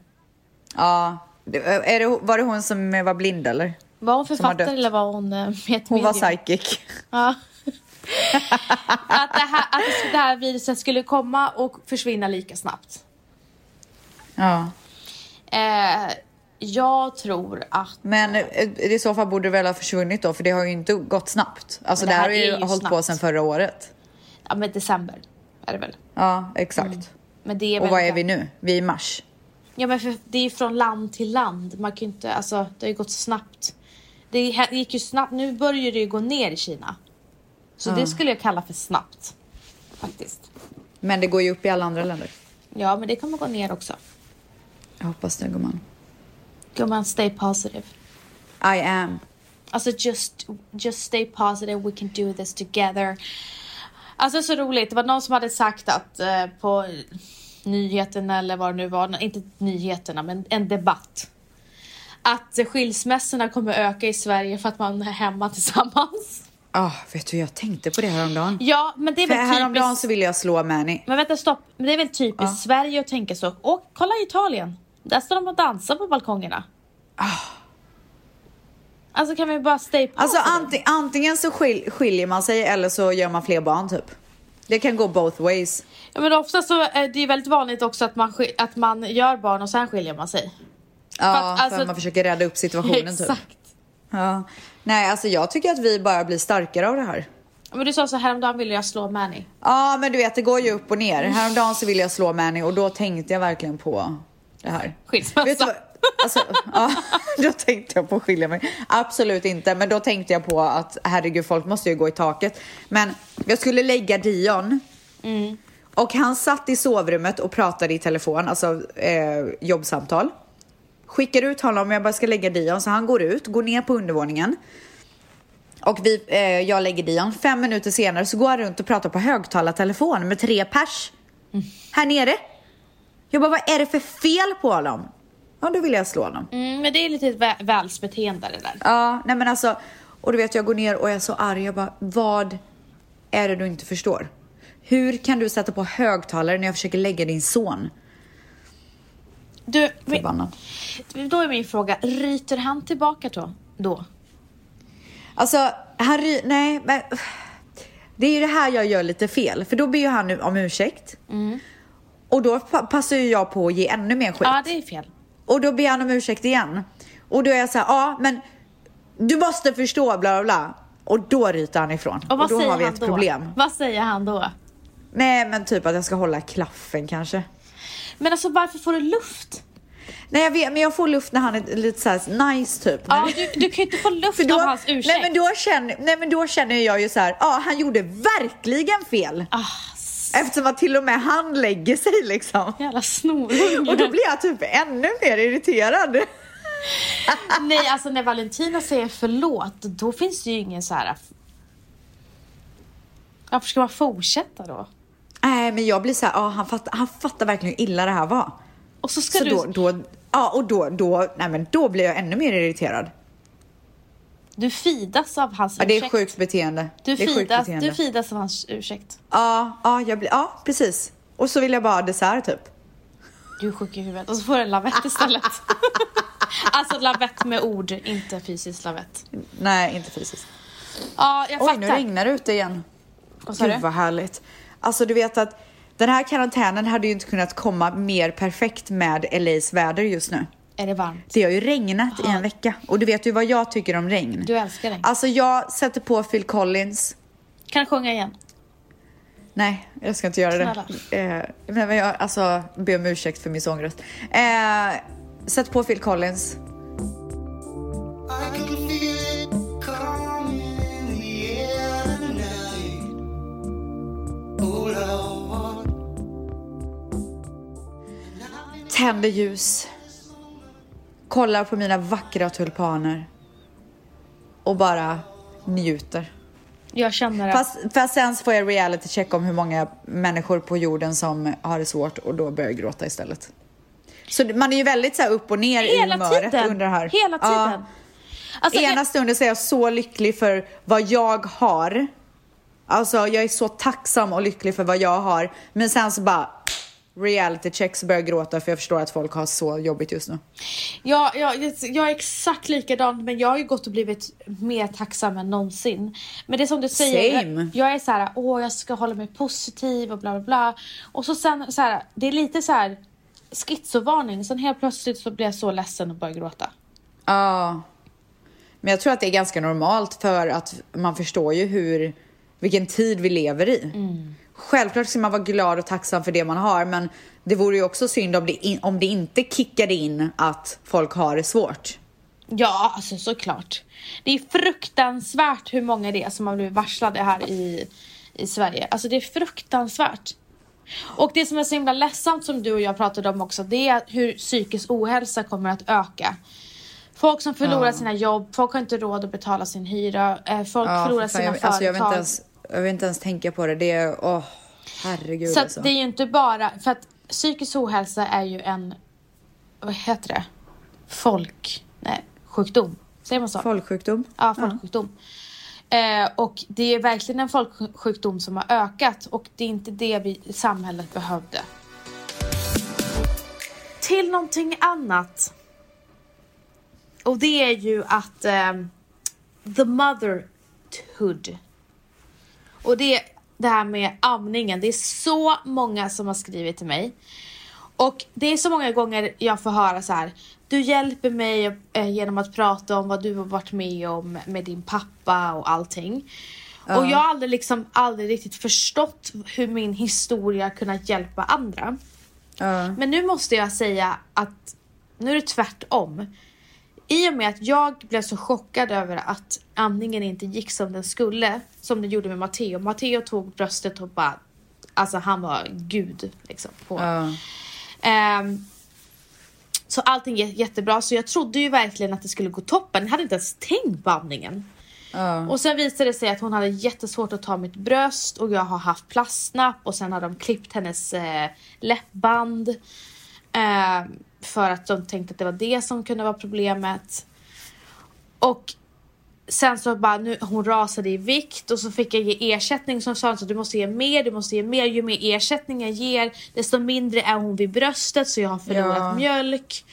Ja. Det- Är det, var det hon som var blind, eller?
Var hon
har
författare
dött.
eller var hon eh, med ett
Hon var
medium?
psychic.
Ja. att, det här, att det här viruset skulle komma och försvinna lika snabbt.
Ja.
Eh, jag tror att...
Men eh, i så fall borde det väl ha försvunnit då, för det har ju inte gått snabbt. Alltså
Men
det här, har ju, hållit på
snabbt.
sedan förra året.
Ja, men december är det väl?
Ja, exakt.
Mm. Men det är
Och
väl
vad är vi nu? Vi är i mars.
Ja, men för det är från land till land. Man kan ju inte... Alltså, det har ju gått snabbt. Det hä- gick ju snabbt. Nu börjar det ju gå ner i Kina. Så det skulle jag kalla för snabbt. Faktiskt.
Men det går ju upp i alla andra länder.
Ja, men det kommer gå ner också.
Jag hoppas det, gumman.
Gumman, stay positive.
I am.
Alltså just, just stay positive, we can do this together. Alltså så roligt, det var någon som hade sagt att eh, på nyheterna eller vad det nu var, inte nyheterna men en debatt. Att eh, skilsmässorna kommer öka i Sverige för att man är hemma tillsammans.
Ah, vet du, jag tänkte på det häromdagen.
Ja, men det är
För
väl
häromdagen
typiskt.
så ville jag slå Mani.
Men vänta stopp, men det är väl typiskt Sverige att tänka så. Och kolla Italien, där står de och dansar på balkongerna.
Ah.
Alltså kan vi bara stay positive?
Alltså anting, antingen så skil, skiljer man sig eller så gör man fler barn typ. Det kan gå both ways.
Ja, men ofta så är det ju väldigt vanligt också att man, skil- att man gör barn och sen skiljer man sig.
Ja, för
att,
att,
alltså-
man försöker rädda upp situationen typ.
Exakt.
Ja. Nej, alltså jag tycker att vi bara blir starkare av det här.
Men du sa så här om dagen ville jag slå Manny.
Ja, men du vet, det går ju upp och ner. Häromdagen så ville jag slå Manny och då tänkte jag verkligen på det här.
Skilsmässa.
Vet du vad? Alltså, ja, då tänkte jag på att skilja mig. Absolut inte, men då tänkte jag på att herregud, folk måste ju gå i taket. Men jag skulle lägga Dion. Och han satt i sovrummet och pratade i telefon, alltså eh, jobbsamtal. Skickar ut honom, jag bara ska lägga Dion, så han går ut, går ner på undervåningen. Och vi, eh, jag lägger Dion. Fem minuter senare så går han runt och pratar på högtalartelefon med tre pers. Här nere. Jag bara, vad är det för fel på honom? Ja, då vill jag slå honom.
Mm, men det är lite ett vä- välsbeteende det där.
Ja, nej men alltså. Och du vet, jag går ner och jag är så arg. Jag bara, vad är det du inte förstår? Hur kan du sätta på högtalare när jag försöker lägga din son?
Du, men-
Förbannad.
då är min fråga, ryter han tillbaka då? då?
Alltså, han ry- Nej, men... Det är ju det här jag gör lite fel. För då ber ju han nu om ursäkt. Och då pa- passar ju jag på att ge ännu mer skit.
Mm. Ja, det är fel.
Och då ber han om ursäkt igen. Och då är jag så här, ja men du måste förstå bla bla bla. Och då ryter han ifrån.
Och vad
då
säger
har vi
han
ett
då?
problem.
Vad säger han då?
Nej men typ att jag ska hålla klaffen kanske.
Men alltså varför får du luft?
Nej jag vet, men jag får luft när han är lite så här nice typ.
Ja, du, du kan ju inte få luft
För då,
av hans ursäkt.
nej, men då känner, nej men då känner jag ju så här, ja han gjorde verkligen fel.
ah, s-
Eftersom att till och med han lägger sig liksom.
jävla
Och då
snorunge.
blir jag typ ännu mer irriterad.
Nej, alltså när Valentina säger förlåt, då finns det ju ingen så här... Varför ska man fortsätta då?
Nej, men jag blir så här, ja, han, fatt, han fattar verkligen hur illa det här var.
Och så ska
så
du...
då, då, ja, och då, då, nej, men då blir jag ännu mer irriterad.
Du fidas av hans
Ja, det är
ursäkt.
sjukt beteende.
Du,
det är sjukt
fidas,
beteende.
du fidas av hans ursäkt.
ja, ja, jag blir, ja, precis. Och så vill jag bara ha dessert typ.
Du är sjuk i huvudet. Och så får du en lavett istället. alltså lavett med ord, inte fysisk lavett.
Nej, inte fysiskt.
Ja, jag
Oj,
fattar.
nu regnar det ute igen.
Vad sa
Gud
du?
vad härligt. Alltså du vet att den här karantänen hade ju inte kunnat komma mer perfekt med LAs väder just nu.
Är det varmt?
Det har ju regnat i en vecka och du vet ju vad jag tycker om regn.
Du älskar det.
Alltså jag sätter på Phil Collins.
Kan jag sjunga igen?
Nej, jag ska inte göra det. Eh, men men jag, alltså, be om ursäkt för min sångröst. Eh, sätt på Phil Collins.
I can feel it coming in the air tonight. All I want,
Tänder ljus. Kollar på mina vackra tulpaner. Och bara njuter.
Jag känner det.
Fast, fast sen så får jag reality check om hur många människor på jorden som har det svårt och då börjar jag gråta istället. Så det- man är ju väldigt så här upp och ner i
Hela
humöret
tiden!
under det här.
Hela
Ja.
tiden. Alltså,
Ena stunden så är jag så lycklig för vad jag har. Alltså jag är så tacksam och lycklig för vad jag har. Men sen så bara reality check så börjar jag gråta för jag förstår att folk har så jobbigt just nu.
Jag, jag, jag är exakt likadan men jag har ju gått och blivit mer tacksam än någonsin. Men det är som du säger,
Same.
jag, jag är så här, åh jag ska hålla mig positiv och bla bla bla. Och så sen så här, det är lite så här schizovarning. Sen helt plötsligt så blir jag så ledsen och börjar gråta.
Ja. Men jag tror att det är ganska normalt för att man förstår ju hur, vilken tid vi lever i. Självklart ska man vara glad och tacksam för det man har men det vore ju också synd om det, in, om det inte kickade in att folk har det svårt.
Ja, alltså såklart. Det är fruktansvärt hur många det är som har blivit varslade här i, i Sverige. Alltså det är fruktansvärt. Och det som är så himla ledsamt som du och jag pratade om också, det är hur psykisk ohälsa kommer att öka. Folk som förlorar sina jobb, folk har inte råd att betala sin hyra, eh, folk
Ja,
förlorar
för fan,
sina
jag,
företag.
alltså, jag, vill inte ens, jag vill inte ens tänka på det. Det är... Åh, herregud
så
alltså.
att det är ju inte bara, för att psykisk ohälsa är ju en, vad heter det? Folk, nej, sjukdom. Säger man så?
Folksjukdom.
Ja, folksjukdom. Eh, och det är verkligen en folksjukdom som har ökat och det är inte det vi samhället behövde. Till någonting annat. Och det är ju att ehm, the motherhood. Och det, det här med amningen, det är så många som har skrivit till mig. Och det är så många gånger jag får höra så här. Du hjälper mig eh, genom att prata om vad du har varit med om med din pappa och allting. Och jag har aldrig, liksom, aldrig riktigt förstått hur min historia har kunnat hjälpa andra.
Ja.
Men nu måste jag säga att nu är det tvärtom. I och med att jag blev så chockad över att amningen inte gick som den skulle, som den gjorde med Matteo. Matteo tog bröstet och bara, alltså han var gud liksom. På.
Ja.
Ehm, så allting gick jättebra, så jag trodde ju verkligen att det skulle gå toppen. Jag hade inte ens tänkt på amningen.
Ja.
Och sen visade det sig att hon hade jättesvårt att ta mitt bröst och jag har haft plastnapp och sen har de klippt hennes eh, läppband. Eh, för att de tänkte att det var det som kunde vara problemet. Och sen så bara, nu, hon rasade i vikt och så fick jag ge ersättning som sa att du måste ge mer, du måste ge mer. Ju mer ersättning jag ger desto mindre är hon vid bröstet så jag har förlorat
Ja.
mjölk.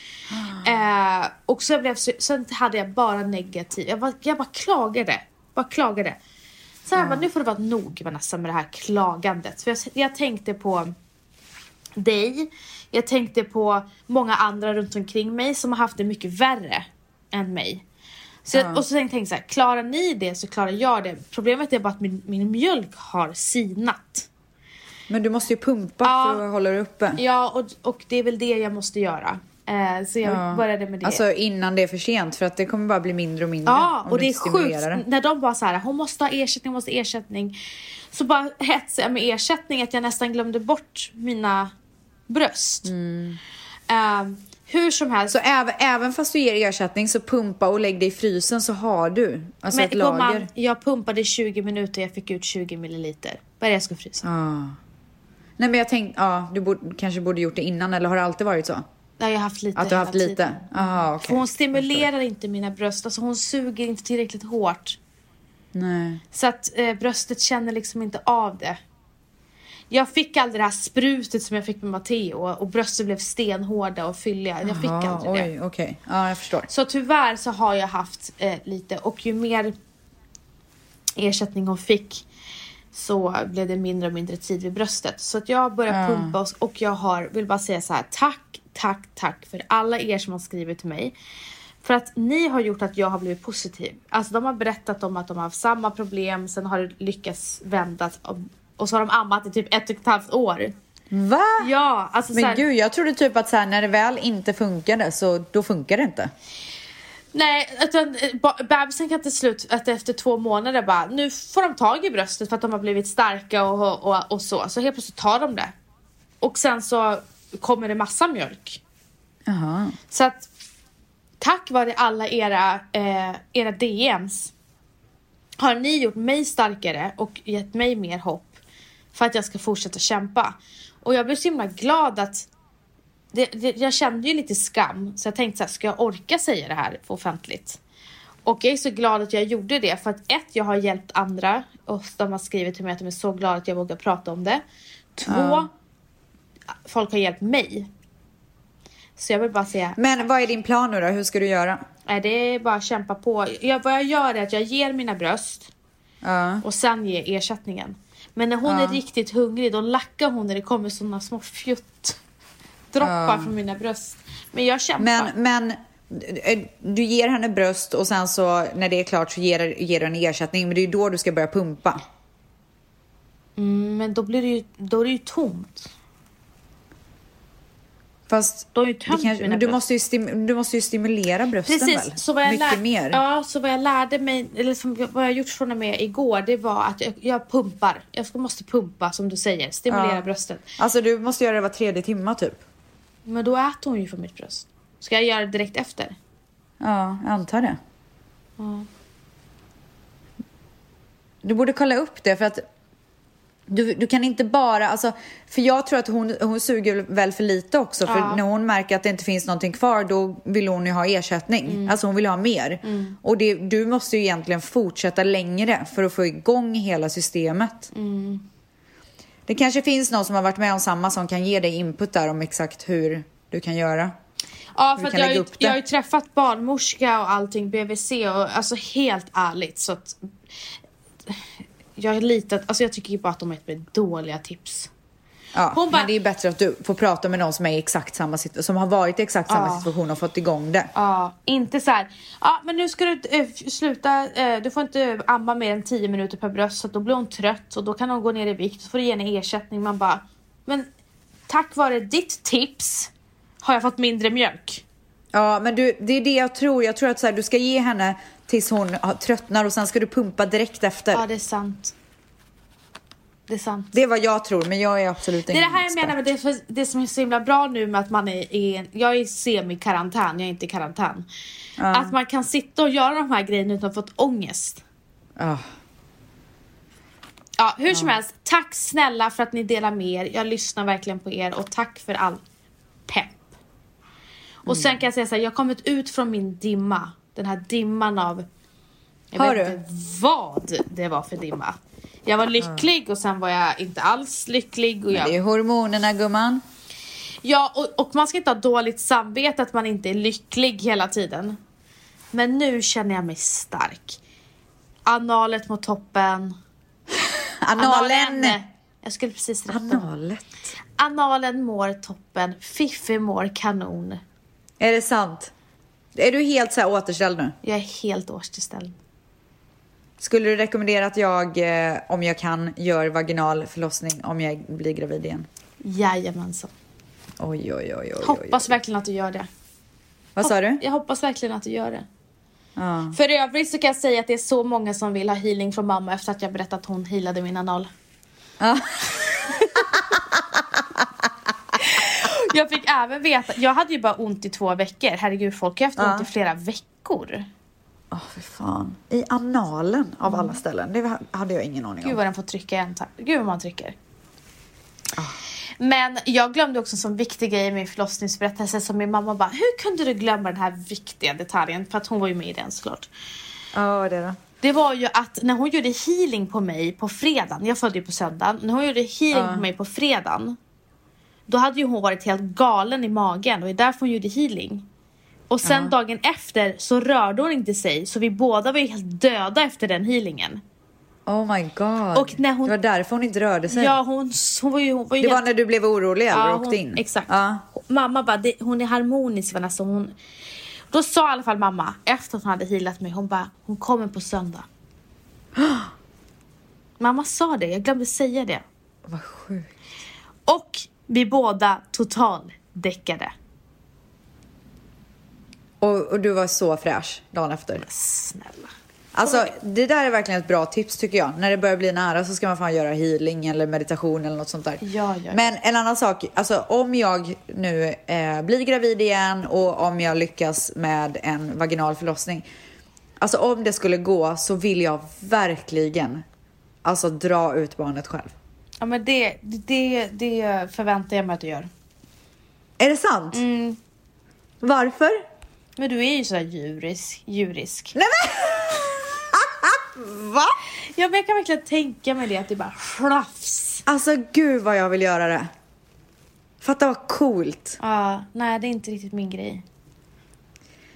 Eh, och sen, blev, så- sen hade jag bara negativ, jag bara, jag bara klagade. Bara klagade. Så jag bara, nu får det vara nog Vanessa med det här klagandet. För jag, jag tänkte på dig. Jag tänkte på många andra runt omkring mig som har haft det mycket värre än mig. Så jag,
Ja.
Och så tänkte jag så här, klarar ni det så klarar jag det. Problemet är bara att min, min mjölk har sinat.
Men du måste ju pumpa
Ja.
för att hålla det uppe.
Ja, och, och det är väl det jag måste göra. Eh, så jag
Ja.
började med det.
Alltså innan det är för sent för att det kommer bara bli mindre och mindre.
Ja,
om
och
du
det är
inte stimulerar
sjukt
det.
när de bara så här, hon måste ha ersättning, hon måste ha ersättning. Så bara hetsade jag med ersättning att jag nästan glömde bort mina bröst.
Mm.
Ehm, hur som helst,
Så även, även fast du ger ersättning så pumpa och lägg det i frysen så har du alltså ett lager.
jag pumpade i 20 minuter, jag fick ut 20 milliliter. Vad är det jag ska frysa?
Ja. Nej men jag tänkte, ja, du borde, kanske borde gjort det innan eller har det alltid varit så?
Nej, jag har haft lite
Att du har
hela
haft lite?
tiden.
Jaha okej.
För hon stimulerar inte mina bröst, alltså hon suger inte tillräckligt hårt.
Nej.
Så att eh, bröstet känner liksom inte av det. Jag fick aldrig det här sprutet som jag fick med Matteo och bröstet blev stenhårda och fylliga. Jag fick
Jaha,
aldrig det.
Oj, okej. Ja, jag förstår.
Så tyvärr så har jag haft eh, lite och ju mer ersättning hon fick så blev det mindre och mindre tid vid bröstet. Så att jag börjar
Ja.
pumpa oss och jag har, vill bara säga så här tack, tack, tack för alla er som har skrivit till mig. För att ni har gjort att jag har blivit positiv. Alltså de har berättat om att de har haft samma problem, sen har det lyckats vända och- och så har de ammat i typ ett och ett halvt år.
Va?
Ja, alltså så här,
Men gud, jag trodde typ att så här, när det väl inte funkade så då funkar det inte.
Nej, utan eh, ba- bebisen kan till slut, att efter två månader bara, nu får de tag i bröstet för att de har blivit starka och, och, och så. Så helt plötsligt tar de det. Och sen så kommer det massa mjölk.
Jaha.
Så att tack vare alla era, eh, era DMs har ni gjort mig starkare och gett mig mer hopp för att jag ska fortsätta kämpa. Och jag blev så himla glad att det, det, jag kände ju lite skam så jag tänkte så här, ska jag orka säga det här offentligt? Och jag är så glad att jag gjorde det för att ett, jag har hjälpt andra och de har skrivit till mig att de är så glada att jag vågar prata om det. Två,
Ja.
folk har hjälpt mig. Så jag vill bara säga
Men vad är din plan nu då? Hur ska du göra?
Nej, det är bara att kämpa på. Jag, vad jag gör är att jag ger mina bröst
Ja.
och sen ger ersättningen. Men när hon är riktigt hungrig då lackar hon när det kommer såna små fjutt droppar från mina bröst. Men jag kämpar.
Men, men eh, du ger henne bröst och sen så när det är klart så ger, ger du en ersättning. Men det är ju då du ska börja pumpa.
Mm, men då blir det ju, då är det ju tomt.
Fast
Då har jag ju
det
tömt
kanske,
mina
men du,
bröst.
måste ju stim, du måste ju stimulera brösten
Precis,
väl?
så vad jag,
Mycket
lär,
mer.
Ja, så vad jag lärde mig, eller som, jag- vad jag gjort från och med igår, det var att jag, jag pumpar. Jag ska- måste pumpa som du säger, stimulera
Ja.
bröstet.
Alltså du måste göra det var tredje timma typ.
Men då äter hon ju från mitt bröst. Ska jag göra det direkt efter?
Ja, jag antar det. Du borde kolla upp det för att du, du kan inte bara, alltså, för jag tror att hon, hon suger väl för lite också för
Ja.
när hon märker att det inte finns någonting kvar då vill hon ju ha ersättning,
Mm.
alltså hon vill ha mer. Och det, du måste ju egentligen fortsätta längre för att få igång hela systemet.
Mm.
Det kanske finns någon som har varit med om samma som kan ge dig input där om exakt hur du kan göra.
Ja,
Vi
för att
kan
jag, har
lägga
ju-
upp det.
jag har ju träffat barnmorska och allting, BVC och alltså helt ärligt så att jag har litat, alltså jag tycker ju bara att de har gett mig dåliga tips.
Ja,
Hon bara-
men det är bättre att du får prata med någon som, är i exakt samma situ- som har varit i exakt samma
Ja.
situation och fått igång det.
Ja, inte så här. Ja, men nu ska du eh, sluta. Eh, du får inte amma mer än 10 minuter per bröst så att då blir hon trött och då kan hon gå ner i vikt. Så får du ge henne ersättning. Man bara, men tack vare ditt tips har jag fått mindre mjölk.
Ja, men du, det är det jag tror. Jag tror att så här, du ska ge henne tills hon har- tröttnar och sen ska du pumpa direkt efter.
Ja, det är sant. Det är sant.
Det är vad jag tror, men jag är absolut
Det är
ingen
det här jag
expert.
menar med det, för det som är så himla bra nu med att man är i en, jag är i semi-karantän, jag är inte i karantän. Att man kan sitta och göra de här grejerna utan att ha fått ångest.
Ja.
Ja, hur som helst, tack snälla för att ni delar med er. Jag lyssnar verkligen på er och tack för all pepp. Och
Mm.
sen kan jag säga så här, jag har kommit ut från min dimma. Den här dimman av, jag
Har
vet
du?
inte vad det var för dimma. Jag var lycklig och sen var jag inte alls lycklig. Och jag...
Det är hormonerna gumman.
Ja, och, och man ska inte ha dåligt samvete att man inte är lycklig hela tiden. Men nu känner jag mig stark. Analet mot toppen.
Analen.
Jag skulle precis rätta.
Analet.
Analen mår toppen. Fiffi mår kanon.
Är det sant? Är du helt så här återställd nu?
Jag är helt årstillställd.
Skulle du rekommendera att jag, eh, om jag kan, gör vaginal förlossning om jag blir gravid igen?
Jajamensan.
Oj, oj, oj, oj, oj.
Hoppas verkligen att du gör det.
Vad sa du?
Jag hoppas verkligen att du gör det.
Ja.
För övrigt så kan jag säga att det är så många som vill ha healing från mamma efter att jag berättat att hon healade min anal.
Ja.
Jag fick även veta, jag hade ju bara ont i två veckor. Herregud, folk har haft
Ja.
ont i flera veckor.
Åh, för fan. I analen av alla ställen. Det hade jag ingen aning
Gud
om.
vad den får trycka igen. tack. Gud vad man trycker.
Ah.
Men jag glömde också en sån viktig grej i min förlossningsberättelse som min mamma bara, hur kunde du glömma den här viktiga detaljen? För att hon var ju med i den såklart.
Ja, vad är det då?
Det var ju att när hon gjorde healing på mig på fredagen, jag födde ju på söndagen, när hon gjorde healing på mig på fredagen då hade ju hon varit helt galen i magen och det är därför hon gjorde healing. Och sen dagen efter så rörde hon inte sig så vi båda var ju helt döda efter den healingen.
Oh my god.
Och när hon-
Det var därför hon inte rörde sig.
Ja hon, hon var ju, hon var ju
det var
helt-
när du blev orolig eller
ja,
åkte
hon,
in?
Exakt.
Ja.
Mamma bara, det, hon är harmonisk Vanessa. Hon... Då sa i alla fall mamma, efter att hon hade healat mig, hon bara, hon kommer på söndag. mamma sa det, jag glömde säga det.
Vad sjukt.
Och vi båda total däckade.
Och, och du var så fräsch dagen efter.
Snälla.
Alltså det där är verkligen ett bra tips tycker jag. När det börjar bli nära så ska man fan göra healing eller meditation eller något sånt där.
Ja, ja, ja.
Men en annan sak, alltså om jag nu eh, blir gravid igen och om jag lyckas med en vaginal förlossning. Alltså om det skulle gå så vill jag verkligen alltså dra ut barnet själv.
Ja men det, det, det förväntar jag mig att du gör.
Är det sant?
Mm.
Varför?
Men du är ju sådär djurisk. djurisk.
Nej men! Va?
Ja men jag kan verkligen tänka mig det att det bara slafs.
Alltså gud vad jag vill göra det. Fatta vad coolt.
Ja, nej det är inte riktigt min grej.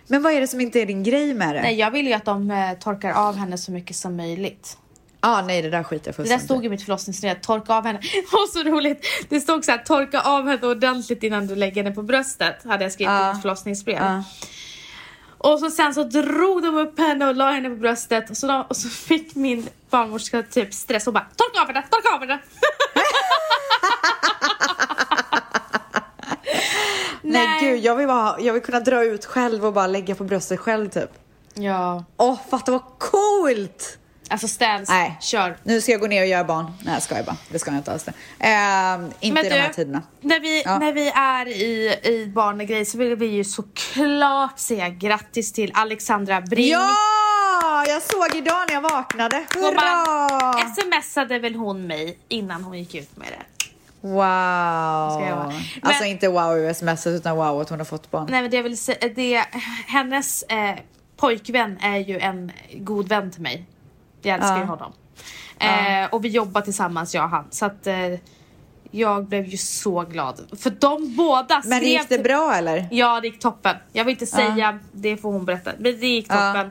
Men vad är det som inte är din grej med det?
Nej, jag vill ju att de eh, torkar av henne så mycket som möjligt.
ah, nej, det där skiter jag
Det
fullständigt
där stod i mitt förlossningsbrev, torka av henne. Det var så roligt. Det stod så här, torka av henne ordentligt innan du lägger henne på bröstet. Hade jag skrivit i
Ja.
mitt förlossningsbrev.
Ja.
Och så sen så drog de upp henne och la henne på bröstet. Och så, de, och så fick min barnmorska typ stress och bara, torka av henne, torka av henne.
Nej. gud, jag vill, bara, jag vill kunna dra ut själv och bara lägga på bröstet själv typ.
Ja.
Åh, fatta vad coolt!
Alltså ställs,
Nej.
kör.
Nu ska jag gå ner och göra barn. Nej, jag skojar bara. Det ska jag inte alls. det. Eh, inte i de här tiderna.
När, vi,
Ja.
när vi är i, i barn och grejer så vill vi ju såklart säga grattis till Alexandra Bring.
Ja! Jag såg idag när jag vaknade.
Och man-
Hurra!
smsade väl hon mig innan hon gick ut med det. Ska jag
Wow!
vara.
Alltså
Men-
inte wow i sms utan wow att hon har fått barn.
Nej men det jag vill säga, det, hennes eh, pojkvän är ju en god vän till mig. Jag älskar ju
Ja.
honom. Eh, och vi jobbar tillsammans jag och han. Så att eh, jag blev ju så glad. För de båda skrev
Men gick det
till-
bra eller?
Ja, det gick toppen. Jag vill inte säga, det får hon berätta. Men det gick toppen.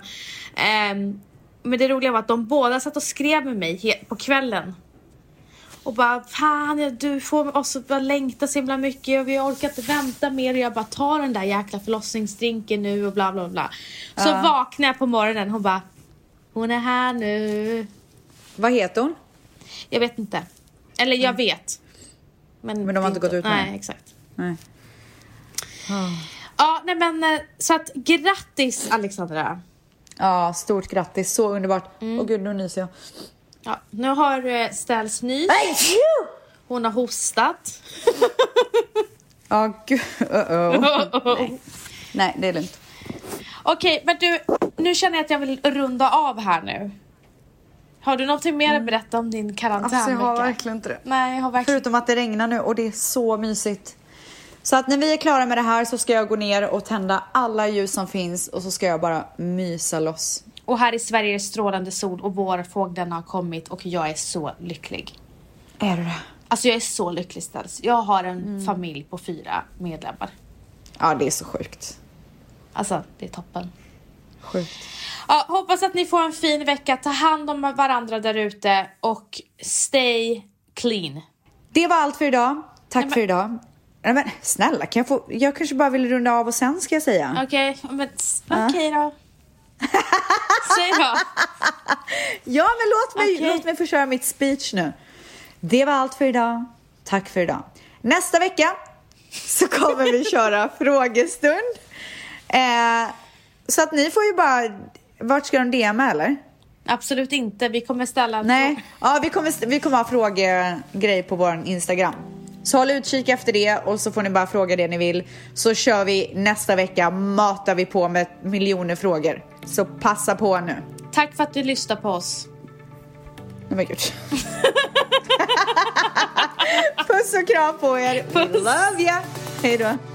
Ehm, men det roliga var att de båda satt och skrev med mig he- på kvällen. Och bara, fan jag- du får oss att bara längta så himla mycket och vi orkar inte vänta mer. Och jag bara, ta den där jäkla förlossningsdrinken nu och bla bla bla. Så vaknade jag på morgonen hon bara, hon är här nu.
Vad heter hon?
Jag vet inte. Eller jag vet.
Mm. Men de har
det är
inte gått ut med
Nej,
det.
exakt.
Nej.
Ja, nej men eh, så att grattis Alexandra.
Ja, stort grattis. Så underbart. Åh gud, nu nyser jag.
Ja, nu har eh, Ställs ny.
Nej!
Hon har hostat.
Ja, gud. Uh-oh. Nej, det är lugnt.
Okej, men du, nu känner jag att jag vill runda av här nu. Har du någonting mer att berätta om din
Alltså,
karantänvecka?
inte det.
Nej, jag har verkligen
Förutom att det regnar nu och det är så mysigt. Så att när vi är klara med det här så ska jag gå ner och tända alla ljus som finns och så ska jag bara mysa loss.
Och här i Sverige är det strålande sol och vårfåglarna har kommit och jag är så lycklig.
Är du det?
Alltså jag är Mm. så lycklig Ställs. Jag har en familj på fyra medlemmar.
Ja, det är så sjukt.
Alltså, det är toppen.
Sjukt.
Ja, hoppas att ni får en fin vecka. Ta hand om varandra där ute och stay clean.
Det var allt för idag. Tack
men-
för idag. Nej men snälla, kan jag få... Jag kanske bara vill runda av och sen ska jag säga.
Okej, men s- okej då. Säg då.
Ja, men låt mig,
Okej.
låt mig få köra mitt speech nu. Det var allt för idag. Tack för idag. Nästa vecka så kommer vi köra frågestund. Eh, så att ni får ju bara... Vart ska de DMa eller?
Absolut inte. Vi kommer ställa...
Nej, ja, vi, kommer, vi kommer ha frågegrej på vår Instagram. Så håll utkik efter det och så får ni bara fråga det ni vill. Så kör vi nästa vecka, matar vi på med miljoner frågor. Så passa på nu.
Tack för att du lyssnar på oss.
Nej men gud. Puss och kram på er.
Puss.
Love ya. Hej då.